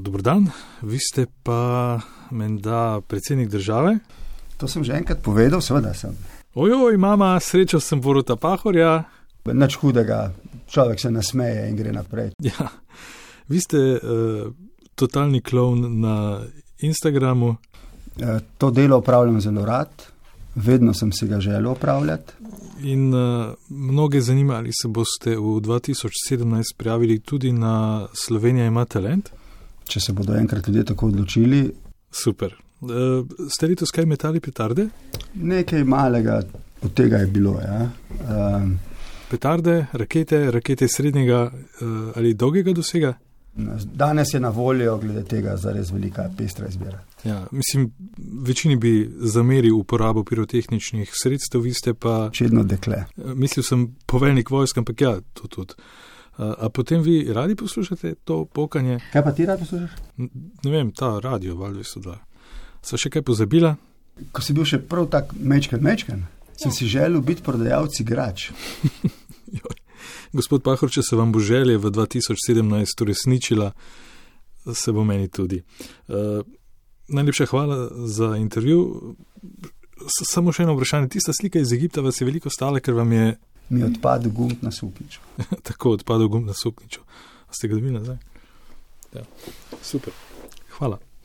Dobr Eh, dan, vi ste pa menda predsednik države. To sem že enkrat povedal, seveda sem. Ojoj, mama, srečal sem Boruta Pahorja. Nič hudega, človek se nasmeje in gre naprej. Ja, vi ste uh, totalni klovn na Instagramu. Eh, To delo opravljam zelo rad, vedno sem si ga želel opravljati. In uh, mnoge zanima, ali se boste v 2017 prijavili tudi na Slovenija ima talent. Če se bodo enkrat ljudje tako odločili, Super. Uh, ste letos kaj metali petarde? nekaj malega od tega je bilo. Ja. Um, Petarde, rakete, rakete srednjega uh, ali dolgega dosega? Danes je na voljo, glede tega, zares velika pestra izbira. Ja, mislim, večini bi zameril uporabo pirotehničnih sredstev, vi ste pa, Čedno dekle. eh, mislil sem, poveljnik vojsk, ampak ja, to tudi. A, a potem vi radi poslušate to pokanje, Kaj pa ti rad poslušaš? N- ne vem, ta radio, valjda so dva. Sva še kaj pozabila? Ko si bil še prav tak mečken, mečken, sem si želel biti prodajalec igrač. Gospod Pahor, če se vam bo želje v 2017 uresničila, se bo meni tudi. Eh, Najlepša hvala za intervju. S- Samo še eno vprašanje. Tista slika iz Egipta vas je veliko stala, ker vam je Mi je odpadel gumb na sukniču. tako odpadel gum na sukniču. A Ste ga dobili nazaj? Ja. Super. Hvala.